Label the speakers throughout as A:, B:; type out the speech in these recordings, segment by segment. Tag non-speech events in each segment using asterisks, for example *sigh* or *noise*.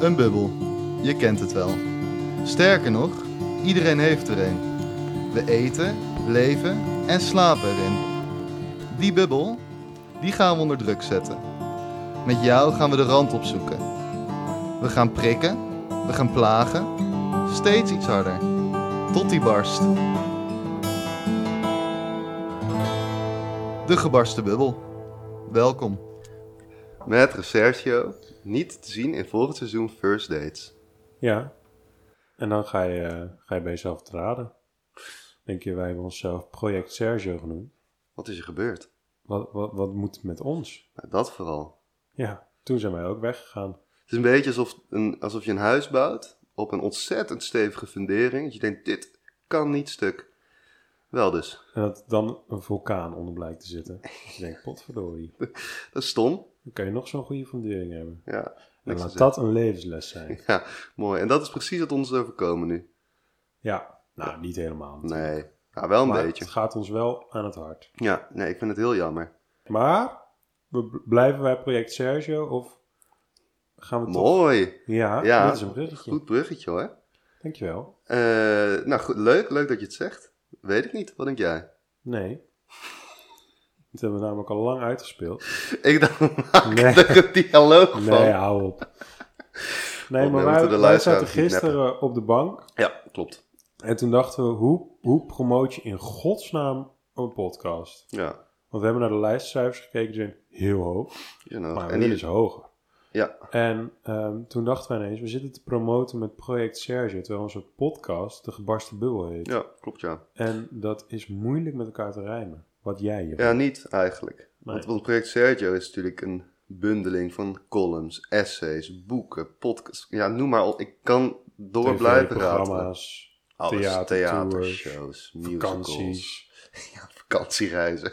A: Een bubbel. Je kent het wel. Sterker nog, iedereen heeft er een. We eten, leven en slapen erin. Die bubbel, die gaan we onder druk zetten. Met jou gaan we de rand opzoeken. We gaan prikken, we gaan plagen, steeds iets harder. Tot die barst. De gebarsten bubbel. Welkom. Met Resertio, niet te zien in volgend seizoen First Dates.
B: Ja. En dan ga je, eh, ga je bij jezelf te raden. Denk je, wij hebben onszelf Project Sergio genoemd.
A: Wat is er gebeurd?
B: Wat, wat, wat moet het met ons?
A: Nou, dat vooral.
B: Ja, toen zijn wij ook weggegaan.
A: Het is een beetje alsof, een, alsof je een huis bouwt op een ontzettend stevige fundering. Dat je denkt, dit kan niet stuk. Wel dus.
B: En dat dan een vulkaan onder blijkt te zitten. Dus je denkt, potverdorie.
A: Dat is stom.
B: Dan kan je nog zo'n goede fundering hebben.
A: Ja,
B: En
A: niks
B: laat
A: te
B: dat een levensles zijn.
A: zeggen. ja, mooi. En dat is precies wat ons is overkomen nu.
B: Ja, nou, niet helemaal. natuurlijk.
A: Nee, nou, wel een
B: Maar
A: beetje.
B: het gaat ons wel aan het hart.
A: Ja, nee, ik vind het heel jammer.
B: Maar, we bl- blijven bij Project Sergio of gaan we toch...
A: Mooi.
B: Ja,
A: Ja,
B: dat is een bruggetje.
A: Goed bruggetje hoor.
B: Dankjewel.
A: Eh, nou, goed, leuk, leuk dat je het zegt. Weet ik niet, wat denk jij?
B: Nee.
A: *laughs*
B: Dat hebben we namelijk al lang uitgespeeld.
A: Ik dacht, maak
B: Nee. *laughs*
A: er een dialoog van.
B: Nee, hou op. Nee,
A: Want we
B: maar
A: moeten
B: wij,
A: de
B: wij
A: luisteraar
B: zaten
A: niet
B: gisteren op de bank.
A: Ja, klopt.
B: En toen dachten we, hoe, hoe promoot je in godsnaam een podcast?
A: Ja,
B: Want we hebben naar de lijstcijfers gekeken, die zijn heel hoog.
A: you know.
B: Maar
A: en
B: we
A: die
B: willen ze hoger.
A: Ja,
B: En ehm, toen dachten wij ineens, we zitten te promoten met Project Sergio. Terwijl onze podcast de gebarsten bubbel heet.
A: ja, klopt ja.
B: En dat is moeilijk met elkaar te rijmen. Wat jij hier
A: Ja, niet eigenlijk.
B: Nee.
A: Want, want project Sergio is natuurlijk een bundeling van columns, essays, boeken, podcasts. Ja, noem maar op. Ik kan door
B: TV
A: blijven raden.
B: programma's,
A: Alles,
B: theatertours,
A: theatershows, musicals.
B: vakanties,
A: Ja, *laughs*
B: *laughs*
A: vakantiereizen.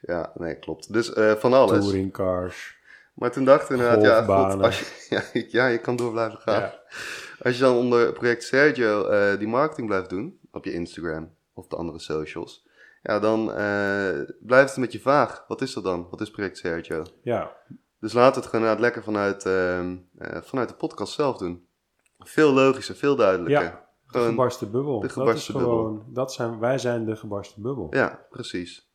A: Ja, nee, klopt. Dus eh, van alles.
B: touringcars.
A: Maar toen dacht ik inderdaad, ja, goed,
B: Golfbanen.
A: als je, *laughs* ja, ik- ja, je kan door blijven gaan.
B: Ja.
A: Als je dan onder project Sergio eh, die marketing blijft doen, op je Instagram of de andere socials, ja, dan eh, blijft het met je vaag. Wat is dat dan? Wat is project Sergio?
B: Ja,
A: Dus laten we het gewoon inderdaad lekker vanuit, ehm, eh, vanuit de podcast zelf doen. Veel logischer, veel duidelijker.
B: Ja, de
A: Gewoon-
B: gebarsten bubbel.
A: de gebarsten
B: dat is gewoon, Dat zijn, wij zijn de gebarsten bubbel.
A: Ja, precies.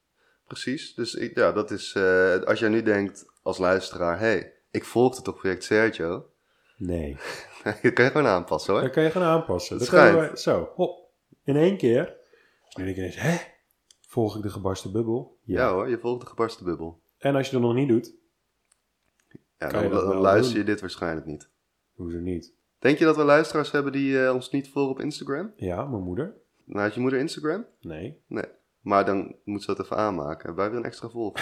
A: Precies. Dus ik, ja, dat is. eh, als jij nu denkt als luisteraar: hé, hey, ik volgde toch project Sergio? *laughs*
B: Nee.
A: dat kan je gewoon aanpassen hoor.
B: Dat kan je gaan aanpassen.
A: Het
B: Dat kunnen
A: schijnt.
B: we- zo, hop. In één keer. En ik ineens, hè? Volg ik de gebarsten bubbel?
A: Ja, hoor, je volgt de gebarsten bubbel.
B: En als je dat nog niet doet,
A: Ja,
B: Kan
A: dan,
B: je dat
A: dan
B: wel
A: luister
B: doen?
A: je dit waarschijnlijk niet.
B: hoezo niet?
A: Denk je dat we luisteraars hebben die eh, ons niet volgen op Instagram?
B: Ja, mijn moeder?
A: Nou, had je moeder Instagram?
B: Nee.
A: Nee. Maar dan moet ze dat even aanmaken. Hebben Wij willen een extra
B: *laughs*
A: volg.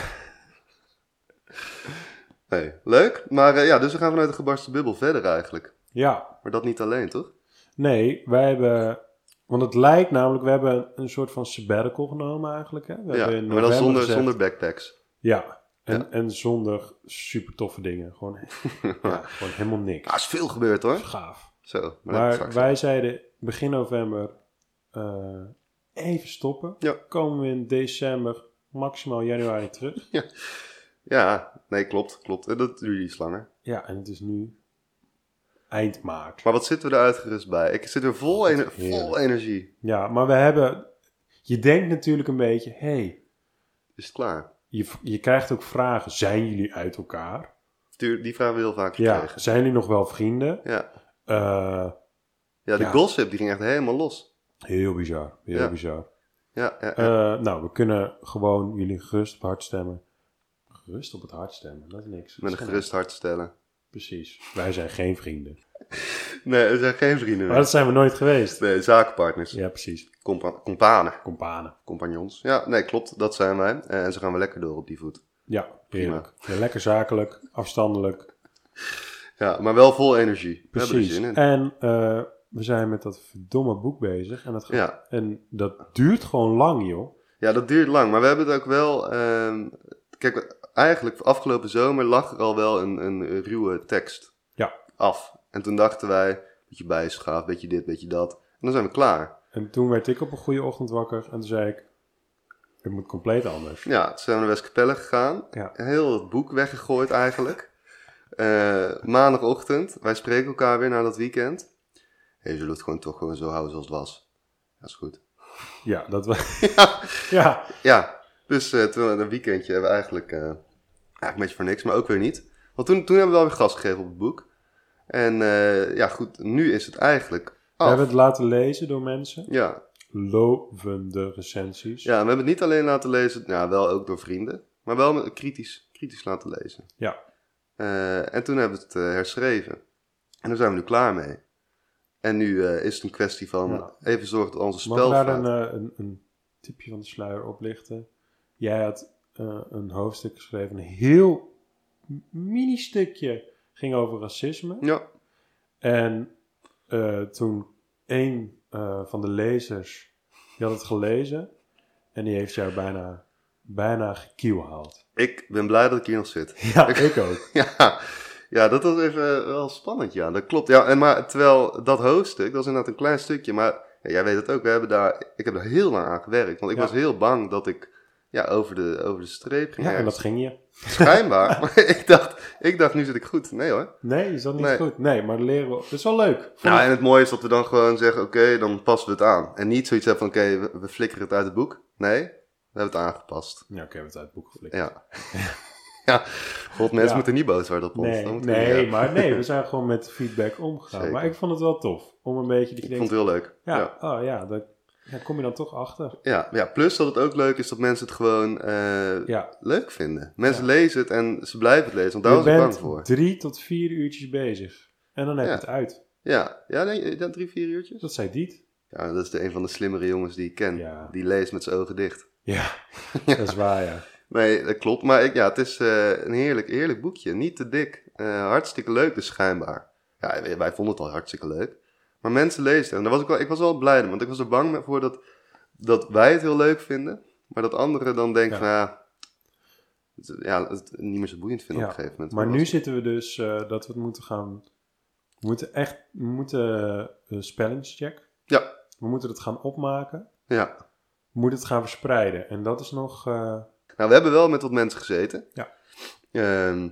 A: nee, leuk. Maar eh, ja, dus we gaan vanuit de gebarsten bubbel verder eigenlijk.
B: Ja,
A: Maar dat niet alleen, toch?
B: Nee, wij hebben. Want het lijkt namelijk, we hebben een, een soort van sabbatical genomen eigenlijk. Hè? We
A: ja,
B: hebben in
A: maar dan
B: november
A: zonder,
B: gezegd-
A: zonder backpacks.
B: Ja, en,
A: Ja.
B: en zonder super toffe dingen. Gewoon, *laughs*
A: *laughs*
B: ja, gewoon helemaal niks.
A: Ah, is veel gebeurd hoor.
B: Gaaf.
A: Zo, maar, dat
B: Maar
A: straks.
B: wij zeiden begin november eh, even stoppen.
A: Ja.
B: Komen we in december, maximaal januari terug.
A: Ja, nee, klopt, klopt. En dat duurde iets langer.
B: Ja, en het is nu eind maart.
A: Maar wat zitten we er uitgerust bij? Ik zit er vol, ener-
B: heerlijk.
A: vol energie.
B: Ja, maar we hebben... Je denkt natuurlijk een beetje, hé, hey,
A: Is het klaar?
B: je, je krijgt ook vragen. Zijn jullie uit elkaar?
A: Tuur- Die vragen we heel vaak
B: Ja,
A: gekregen.
B: zijn jullie nog wel vrienden?
A: Ja.
B: Eh,
A: ja, de
B: Ja.
A: gossip die ging echt helemaal los.
B: heel bizar, heel
A: Ja.
B: bizar.
A: Ja, ja, ja.
B: Eh, nou, we kunnen gewoon jullie gerust op het hart stemmen. Gerust op het hart stemmen, dat is niks.
A: met een
B: Stemmen.
A: gerust hart stellen.
B: Precies, wij zijn geen vrienden.
A: Nee, er zijn geen vrienden
B: Maar
A: meer.
B: dat zijn we nooit geweest.
A: Nee, zakenpartners.
B: Ja, precies.
A: Compa- Companen.
B: Companen.
A: Compagnons. Ja, nee, klopt. Dat zijn wij. Eh, En zo gaan we lekker door op die voet.
B: Ja, heerlijk. Ja, lekker zakelijk, afstandelijk.
A: Ja, maar wel vol energie. We hebben er
B: Precies.
A: zin in.
B: En eh, we zijn met dat verdomme boek bezig. En dat, gaat-
A: Ja.
B: en dat duurt gewoon lang, joh.
A: Ja, dat duurt lang. Maar we hebben het ook wel. ehm, kijk, eigenlijk afgelopen zomer lag er al wel een, een ruwe tekst
B: Ja.
A: af. En toen dachten wij, beetje bijschaaf, beetje dit, beetje dat. En dan zijn we klaar.
B: En toen werd ik op een goede ochtend wakker en toen zei ik... Het moet compleet anders.
A: Ja, toen zijn we naar Westkapelle gegaan.
B: Ja.
A: Heel het boek weggegooid eigenlijk. Eh, Eh, maandagochtend, wij spreken elkaar weer na dat weekend. Hé, zullen we het gewoon toch gewoon zo houden zoals het was? Dat is goed.
B: Ja, dat was...
A: *laughs* Ja.
B: ja,
A: Ja, dus eh, toen, een weekendje hebben we eigenlijk, eh, eigenlijk een beetje voor niks, maar ook weer niet. Want toen, toen hebben we wel weer gas gegeven op het boek. En eh, ja, goed, nu is het eigenlijk
B: we
A: af.
B: hebben het laten lezen door mensen.
A: Ja,
B: Lovende recensies.
A: ja, en we hebben het niet alleen laten lezen, ja, wel ook door vrienden, maar wel met- kritisch, kritisch laten lezen.
B: Ja.
A: Eh, en toen hebben we het eh, herschreven. En daar zijn we nu klaar mee. En nu eh, is het een kwestie van
B: Ja.
A: even zorgen dat onze
B: Mag ik daar
A: spelfout...
B: een, eh, een, een tipje van de sluier oplichten? Jij had eh, een hoofdstuk geschreven, een heel m- mini stukje ging over racisme.
A: Ja,
B: En eh, toen een eh, van de lezers, die had het gelezen en die heeft jou bijna, bijna gekielhaald.
A: ik ben blij dat ik hier nog zit. *laughs*
B: Ja, *laughs* ik ook.
A: Ja, ja, dat was even eh, wel spannend, ja. Dat klopt. Ja, en maar terwijl dat hoofdstuk, dat is inderdaad een klein stukje, maar ja, jij weet het ook, we hebben daar, ik heb daar heel lang aan gewerkt. Want ik
B: Ja.
A: was heel bang dat ik ja, over, de, over de streep ging.
B: Ja, en
A: ergens.
B: dat ging je.
A: Schijnbaar. *laughs* maar ik dacht, ik dacht, nu zit ik goed. Nee hoor.
B: Nee, is dat niet
A: Nee.
B: goed? Nee, maar leren... we- Dat is wel leuk. Vond
A: Nou,
B: ik-
A: en het mooie is dat we dan gewoon zeggen, oké, dan passen we het aan. En niet zoiets hebben van, oké, we, we flikkeren het uit het boek. Nee, we hebben het aangepast.
B: Ja, oké, we hebben het uit het boek geflikt.
A: Ja. *laughs* ja. God, mensen
B: Ja.
A: moeten niet boos worden op ons.
B: Nee,
A: Dan moeten we-
B: nee
A: *laughs* ja.
B: maar nee, we zijn gewoon met feedback omgegaan.
A: Zeker.
B: Maar ik vond het wel tof om een beetje... Dat je
A: Ik vond het
B: denkt,
A: heel leuk.
B: ja,
A: ja.
B: oh ja, daar daar kom je dan toch achter.
A: Ja, ja, plus dat het ook leuk is dat mensen het gewoon eh,
B: Ja,
A: leuk vinden. Mensen
B: Ja.
A: lezen het en ze blijven het lezen, want daar
B: je
A: was ik bang
B: bent
A: voor.
B: drie tot vier uurtjes bezig. En dan heb je
A: Ja.
B: het uit.
A: Ja, ja denk je dan drie, vier uurtjes?
B: Dat zei Diet.
A: Ja, dat is de, een van de slimmere jongens die ik ken.
B: Ja.
A: Die leest met zijn ogen dicht.
B: Ja, *laughs* dat is waar,
A: *laughs*
B: ja.
A: Nee, dat klopt. Maar ik, ja, het is eh, een heerlijk, heerlijk boekje. Niet te dik. Eh, hartstikke leuk dus schijnbaar. Ja, wij- wij vonden het al hartstikke leuk. Maar mensen lezen het. En daar was ik, wel, ik was wel blij om, want ik was er bang voor dat, dat wij het heel leuk vinden. Maar dat anderen dan denken
B: Ja.
A: van ja, het, ja, het niet meer zo boeiend vinden op
B: Ja,
A: een gegeven moment.
B: Maar
A: Dat
B: nu
A: was-
B: zitten we dus eh, dat we het moeten gaan... We moeten echt... We moeten eh, spellingscheck.
A: Ja,
B: We moeten het gaan opmaken.
A: ja.
B: We moeten het gaan verspreiden. En dat is nog... eh,
A: Nou, we hebben wel met wat mensen gezeten.
B: Ja.
A: Ehm,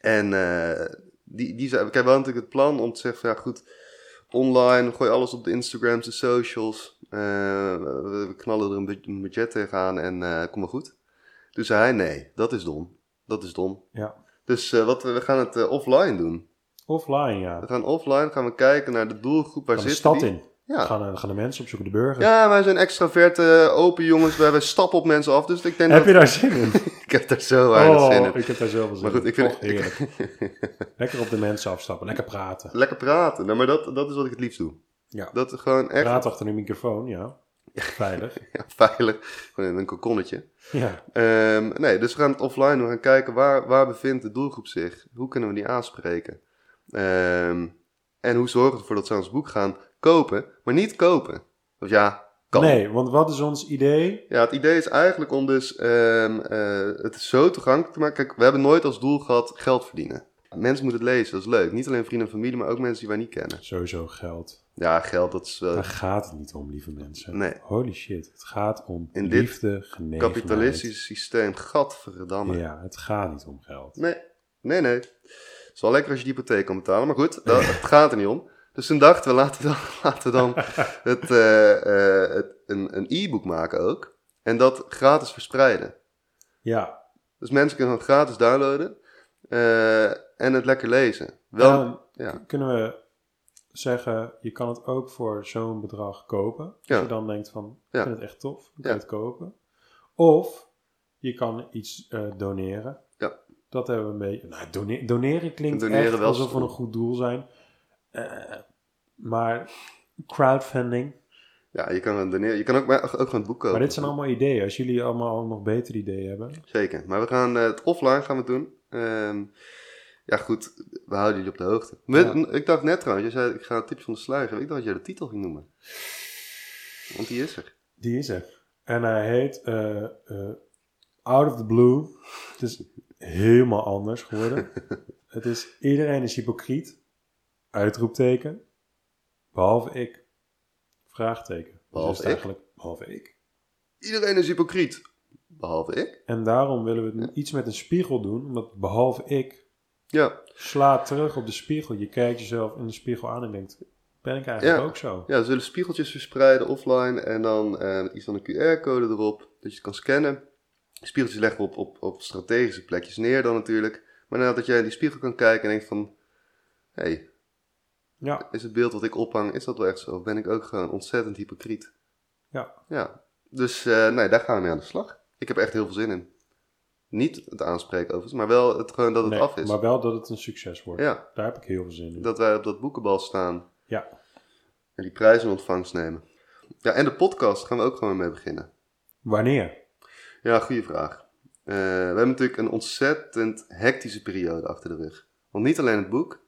A: en eh, die, die zei, we hebben wel natuurlijk het plan om te zeggen van, ja goed, online, gooi alles op de Instagrams, de socials. eh, we, we knallen er een, bu- een budget tegenaan en eh, kom maar goed. Toen zei hij, nee, dat is dom. Dat is dom.
B: Ja.
A: Dus eh, wat, we we gaan het eh, offline doen.
B: offline,
A: We
B: ja.
A: gaan offline, gaan we kijken naar de doelgroep. Waar
B: Gaan de
A: zitten
B: stad
A: die?
B: in.
A: Ja.
B: Gaan, eh, gaan de mensen opzoeken, de burger.
A: ja, wij zijn extraverte, eh, open jongens. Wij, wij stappen op mensen af. Dus ik denk
B: Heb
A: dat...
B: je daar zin
A: *laughs*
B: in? Oh,
A: Ik heb daar zo weinig zin in.
B: ik heb daar zoveel zin
A: Maar goed,
B: in.
A: ik vind
B: Och, heerlijk.
A: *laughs*
B: Lekker op de mensen afstappen, lekker praten.
A: Lekker praten. Nou, maar dat, dat is wat ik het liefst doe.
B: Ja.
A: Dat is gewoon echt
B: Praat achter een microfoon, ja. Veilig.
A: ja, *laughs* veilig. Gewoon in een kokonnetje.
B: Ja,
A: Ehm, nee, dus we gaan het offline doen. We gaan kijken waar, waar bevindt de doelgroep zich? Hoe kunnen we die aanspreken? Ehm, en hoe zorgen we ervoor dat ze ons boek gaan kopen, maar niet kopen? Of ja, kan.
B: nee, want wat is ons idee?
A: Ja, het idee is eigenlijk om dus ehm, eh, het zo toegankelijk te maken. Kijk, we hebben nooit als doel gehad geld verdienen. Mensen moeten het lezen, dat is leuk. Niet alleen vrienden en familie, maar ook mensen die wij niet kennen.
B: Sowieso geld.
A: Ja, geld, dat is wel
B: Daar gaat het niet om, lieve mensen.
A: Eh. Nee.
B: Holy shit, het gaat om
A: In dit
B: liefde, genegenheid.
A: kapitalistisch systeem. Gadverdamme.
B: Ja, het gaat niet om geld.
A: Nee, nee, nee. Het is wel lekker als je die hypotheek kan betalen, maar goed, dat, het gaat er niet om. Dus toen dachten we, laten we dan, *laughs* laten we dan het, eh, eh, het, een, een e-book maken ook. En dat gratis verspreiden.
B: Ja,
A: Dus mensen kunnen het gratis downloaden eh, en het lekker lezen. Wel,
B: dan
A: ja.
B: kunnen we zeggen, je kan het ook voor zo'n bedrag kopen. Als
A: Ja.
B: je dan denkt van, ik
A: Ja.
B: vind het echt tof, ik kan
A: Ja.
B: het kopen. Of je kan iets eh, doneren.
A: Ja.
B: Dat hebben we een beetje... Nou, done- doneren klinkt
A: Doneren
B: echt
A: wel
B: alsof we
A: stom.
B: een goed doel zijn. Eh, maar crowdfunding.
A: ja, je kan, het doneren, je kan ook, maar ook gewoon het boek kopen.
B: Maar dit zijn allemaal ideeën. Als jullie allemaal nog betere ideeën hebben.
A: Zeker, maar we gaan eh, het offline gaan we doen. Ehm, ja goed, we houden jullie op de hoogte. We-
B: Ja.
A: Ik dacht net trouwens, je zei ik ga het tipje van de sluier geven. Ik dacht dat jij de titel ging noemen. Want die is er.
B: Die is er. En hij heet eh, eh, Out of the Blue. Het is helemaal anders
A: *laughs*
B: geworden. het is iedereen is hypocriet. Uitroepteken. Behalve ik. Vraagteken. Dus
A: Behalve
B: is het
A: ik?
B: Eigenlijk, behalve ik.
A: Iedereen is hypocriet. Behalve ik.
B: En daarom willen we het iets met een spiegel doen. Omdat behalve ik
A: Ja,
B: Sla terug op de spiegel. Je kijkt jezelf in de spiegel aan en denkt, ben ik eigenlijk
A: Ja.
B: ook zo?
A: ja, ze zullen spiegeltjes verspreiden offline en dan eh, iets van een QR-code erop, dat je het kan scannen. Spiegeltjes leggen we op, op, op strategische plekjes neer dan natuurlijk. Maar nadat jij in die spiegel kan kijken en denkt van, hé, hey,
B: Ja,
A: is het beeld wat ik ophang, is dat wel echt zo? Of ben ik ook gewoon ontzettend hypocriet?
B: ja.
A: Ja, dus eh, nee, daar gaan we mee aan de slag. Ik heb er echt heel veel zin in. Niet het aanspreken overigens, maar wel het, gewoon dat het
B: Nee,
A: af is.
B: maar wel dat het een succes wordt.
A: Ja,
B: Daar heb ik heel veel zin in.
A: dat wij op dat boekenbal staan
B: Ja,
A: en die prijzen in ontvangst nemen. Ja, en de podcast gaan we ook gewoon mee beginnen.
B: wanneer?
A: Ja, goede vraag. Eh, we hebben natuurlijk een ontzettend hectische periode achter de rug. Want niet alleen het boek,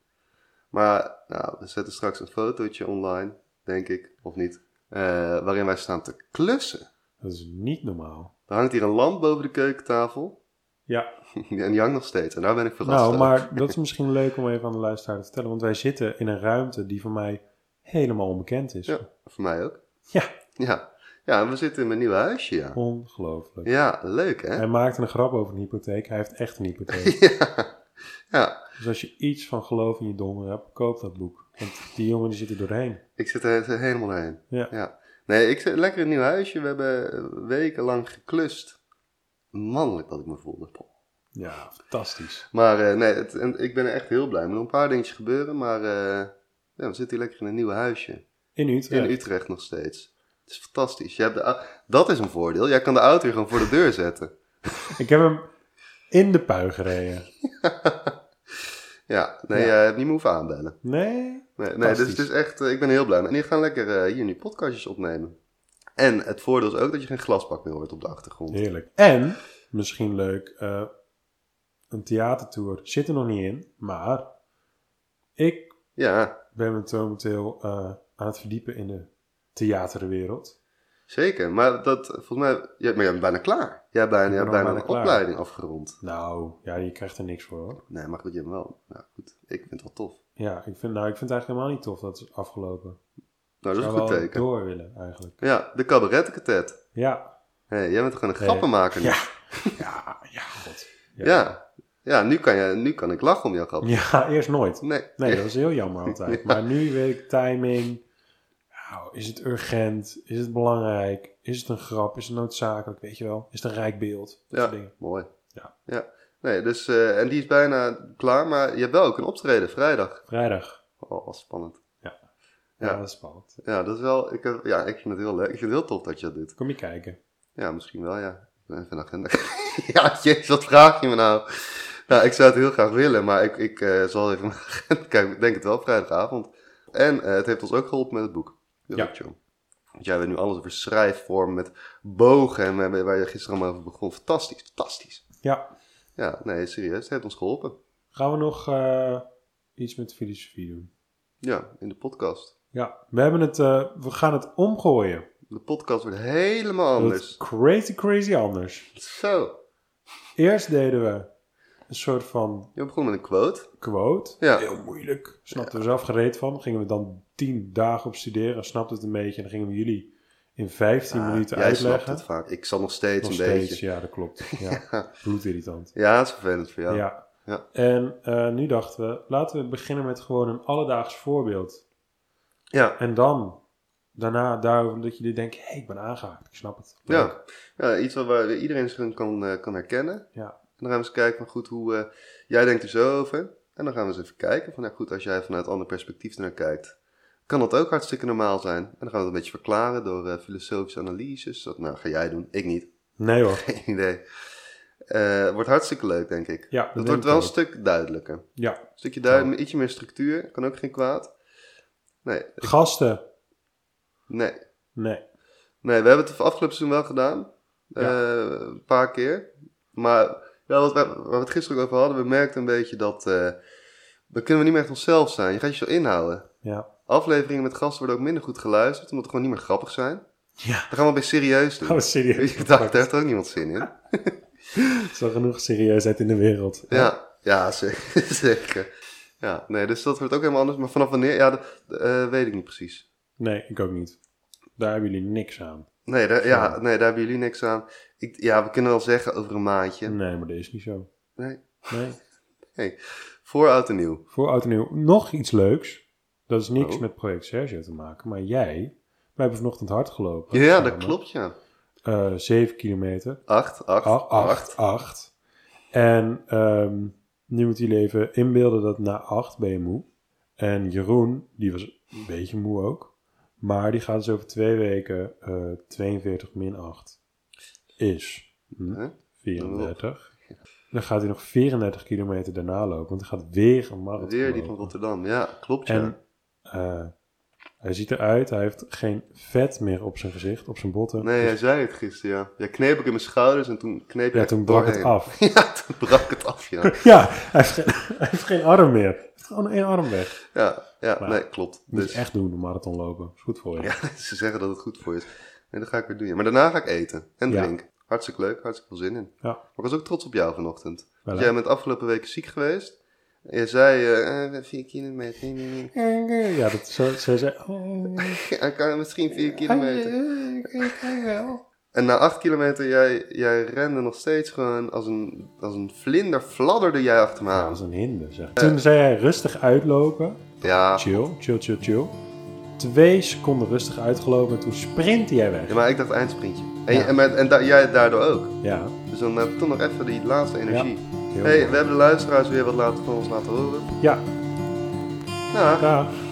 A: maar nou, we zetten straks een fotootje online, denk ik, of niet, eh, waarin wij staan te klussen.
B: Dat is niet normaal.
A: Er hangt hier een lamp boven de keukentafel
B: Ja,
A: en die hangt nog steeds. En daar ben ik verrast
B: nou,
A: over.
B: maar
A: *laughs*
B: dat is misschien leuk om even aan de luisteraar te vertellen. Want wij zitten in een ruimte die voor mij helemaal onbekend is.
A: Ja, voor mij ook.
B: Ja.
A: Ja, ja en we zitten in mijn nieuwe huisje, ja.
B: Ongelooflijk.
A: Ja, leuk hè?
B: Hij maakte een grap over een hypotheek. Hij heeft echt een hypotheek.
A: *laughs* Ja. ja,
B: dus als je iets van geloof in je donder hebt, koop dat boek. Want die jongen die zit er doorheen.
A: ik zit er er helemaal heen.
B: Ja.
A: Ja. Nee, ik zit lekker in een nieuw huisje. We hebben eh, wekenlang geklust. Mannelijk dat ik me voelde.
B: Ja, fantastisch.
A: Maar eh, nee, het, en, ik ben er echt heel blij. Er nog een paar dingetjes gebeuren, maar eh, ja, we zitten hier lekker in een nieuw huisje.
B: In Utrecht.
A: In Utrecht nog steeds. Het is fantastisch. Je hebt de, au- dat is een voordeel. Jij kan de auto hier gewoon voor de deur zetten.
B: Ik heb hem in de pui gereden.
A: Ja, nee,
B: Ja.
A: jij hebt niet meer hoeven aanbellen.
B: Nee?
A: Nee, nee dus
B: Fantastisch.
A: het is echt, eh, ik ben heel blij. En die gaan lekker eh, hier nu podcastjes opnemen. En het voordeel is ook dat je geen glasbak meer hoort op de achtergrond.
B: Heerlijk. En, misschien leuk, eh, een theatertour zit er nog niet in. Maar ik
A: Ja,
B: ben me momenteel eh, aan het verdiepen in de theaterwereld.
A: zeker. Maar dat, volgens mij, ja, maar jij bent bijna klaar. Jij hebt bijna,
B: Ik
A: jij
B: ben
A: hebt
B: al
A: bijna een
B: bijna klaar.
A: opleiding afgerond.
B: Nou, ja, je krijgt er niks voor hoor.
A: Nee, maar goed, je hebt hem wel. Nou goed, ik vind het wel tof.
B: Ja, ik vind, nou, ik vind het eigenlijk helemaal niet tof dat het is afgelopen.
A: Nou, dat is
B: zou
A: een goed
B: wel
A: teken.
B: door willen eigenlijk.
A: Ja, de cabarettenketet.
B: Ja.
A: Hé, hey, jij bent gewoon een
B: Nee.
A: grappenmaker nu.
B: Ja. Ja, ja, god.
A: Ja. ja. nu kan, je, nu kan ik lachen om jouw grap.
B: Ja, eerst nooit.
A: Nee.
B: Nee, dat is heel jammer altijd.
A: Ja.
B: Maar nu weet ik timing. Nou, is het urgent? Is het belangrijk? Is het een grap? Is het noodzakelijk? Weet je wel? Is het een rijk beeld?
A: Ja.
B: Dat soort dingen.
A: Mooi.
B: Ja.
A: ja. Nee, dus, eh, en die is bijna klaar, maar je hebt wel ook een optreden vrijdag.
B: Vrijdag.
A: Oh, wat spannend.
B: Ja,
A: Ja.
B: dat is spannend.
A: Ja, dat is wel. Ik, heb- ja, ik vind het heel leuk. Ik vind het heel tof dat je dat doet.
B: Kom je kijken.
A: Ja, misschien wel, ja. Ik ben Even een agenda. *laughs* ja, jezus, wat vraag je me nou? Nou, ik zou het heel graag willen, maar ik, ik eh, zal even mijn agenda kijken. Ik denk het wel, vrijdagavond. En eh, het heeft ons ook geholpen met het boek. Heel
B: Ja.
A: goed, joh. Want jij weet nu alles over schrijfvorm met bogen en waar- waar je gisteren allemaal over begon. Fantastisch, fantastisch.
B: Ja.
A: Ja, nee, serieus, het heeft ons geholpen.
B: Gaan we nog eh, iets met filosofie doen?
A: Ja, in de podcast.
B: Ja. We, hebben het, eh, we gaan het omgooien.
A: De podcast wordt helemaal
B: Dat
A: anders.
B: is Crazy, crazy anders.
A: Zo.
B: Eerst deden we een soort van
A: Je begon met een quote.
B: quote.
A: Ja.
B: Heel moeilijk. Snapten we zelf gereed van. Gingen we dan tien dagen op studeren. Snapten het een beetje. En dan gingen we jullie in 15
A: Ah,
B: minuten
A: jij snapt
B: uitleggen.
A: het vaak. Ik zal nog steeds
B: Nog
A: een
B: steeds.
A: beetje.
B: Ja, dat
A: *laughs*
B: klopt. Ja. Bloedirritant.
A: Ja, het is vervelend voor
B: Ja.
A: jou. Ja.
B: En eh, nu dachten we, laten we beginnen met gewoon een alledaags voorbeeld.
A: ja.
B: En dan, daarna daarover dat jullie denken, hé, hey, ik ben aangehaakt. Ik snap het. Leuk.
A: Ja, ja iets wat waar iedereen zich in kan, eh, kan herkennen.
B: Ja.
A: En dan gaan we eens kijken van goed, hoe eh, jij denkt er zo over. En dan gaan we eens even kijken van, nou goed, als jij vanuit een ander perspectief ernaar kijkt, kan dat ook hartstikke normaal zijn. En dan gaan we het een beetje verklaren door eh, filosofische analyses. Dat nou, ga jij doen, ik niet. *laughs*
B: Nee hoor.
A: Geen idee. Eh, wordt hartstikke leuk, denk ik.
B: Ja,
A: dat
B: denk
A: wordt
B: ik
A: wel een
B: ook.
A: stuk duidelijker. Een
B: Ja.
A: stukje duidelijk, ietsje meer structuur, kan ook geen kwaad. Nee,
B: Gasten.
A: nee.
B: Nee.
A: Nee, we hebben het de afgelopen seizoen wel gedaan.
B: Ja.
A: Eh, een paar keer. Maar ja, wat we, waar we het gisteren ook over hadden, we merkten een beetje dat... eh, dan kunnen we niet meer echt onszelf zijn. Je gaat je zo inhouden.
B: Ja.
A: Afleveringen met gasten worden ook minder goed geluisterd, omdat we gewoon niet meer grappig zijn.
B: Ja.
A: Dan gaan we bij serieus
B: Gaan we
A: doen.
B: Oh, serieus.
A: *laughs* Ik dacht, daar heeft ook niemand zin in. Ja,
B: Er is al genoeg serieusheid in de wereld.
A: ja, zeker. *laughs* zeker. Ja, nee, dus dat wordt ook helemaal anders. Maar vanaf wanneer, ja, dat eh, weet ik niet precies.
B: Nee, ik ook niet. Daar hebben jullie niks aan.
A: Nee, daar, ja,
B: Ja.
A: nee, daar hebben jullie niks aan. Ik, ja, we kunnen wel zeggen over een maandje.
B: Nee, maar dat is niet zo.
A: Nee.
B: Nee.
A: Hey, Voor oud en nieuw.
B: Voor oud en nieuw nog iets leuks. Dat is niks
A: Oh.
B: met project Sergio te maken. Maar jij, wij hebben vanochtend hard gelopen.
A: Ja,
B: samen.
A: dat klopt, ja.
B: Eh, Zeven kilometer.
A: 8, 8,
B: Ach, Ah, acht, acht. En ehm, nu moet jullie even inbeelden dat na acht ben je moe. En Jeroen, die was een beetje moe ook. Maar die gaat dus over twee weken eh, 42 min 8. Is hm,
A: Huh?
B: 34. Dan gaat hij nog 34 kilometer daarna lopen. Want hij gaat weer een marathon
A: Weer die van
B: lopen.
A: Rotterdam, ja, klopt, ja.
B: En eh, hij ziet eruit. Hij heeft geen vet meer op zijn gezicht, op zijn botten.
A: Nee,
B: Dus-
A: jij zei het gisteren, ja. Ja, kneep ik in mijn schouders en toen kneep
B: ja,
A: ik
B: toen brak het
A: doorheen.
B: af.
A: *laughs* ja, toen brak het af, ja.
B: *laughs* Ja, hij heeft, geen, *laughs* hij heeft geen arm meer. Hij heeft gewoon één arm weg.
A: Ja, ja
B: Maar-
A: nee, klopt.
B: Moet
A: Dus,
B: je echt doen, een marathon lopen. Is goed voor je.
A: ja, *laughs* ze zeggen dat het goed voor je is. En dat ga ik weer doen. ja. Maar daarna ga ik eten en
B: Ja.
A: drinken. Hartstikke leuk, hartstikke veel zin in.
B: Ja.
A: Maar ik was ook trots op jou vanochtend.
B: Wel,
A: Want
B: hè?
A: jij bent afgelopen week ziek geweest. En jij zei, eh, eh, vier kilometer. nee, nee, nee. *laughs*
B: Ja, dat zo, zij zei... Oh,
A: Hij kan misschien vier kilometer.
B: eh, ik- ik kan wel.
A: En na acht kilometer, jij, jij rende nog steeds gewoon als een, als een vlinder fladderde jij achter me
B: Ja,
A: aan.
B: dat is een hinder, zeg. Toen zei hij rustig uitlopen.
A: Ja,
B: Chill, chill, chill, chill. Twee seconden rustig uitgelopen en toen sprint hij weg.
A: ja, maar ik dacht eindsprintje. En,
B: Ja.
A: en, met- en da- jij daardoor ook.
B: Ja,
A: Dus dan heb ik toch nog even die laatste energie.
B: heel
A: hey,
B: mooi.
A: we hebben de luisteraars weer wat laten, van ons laten horen.
B: Ja,
A: Nou,
B: dag.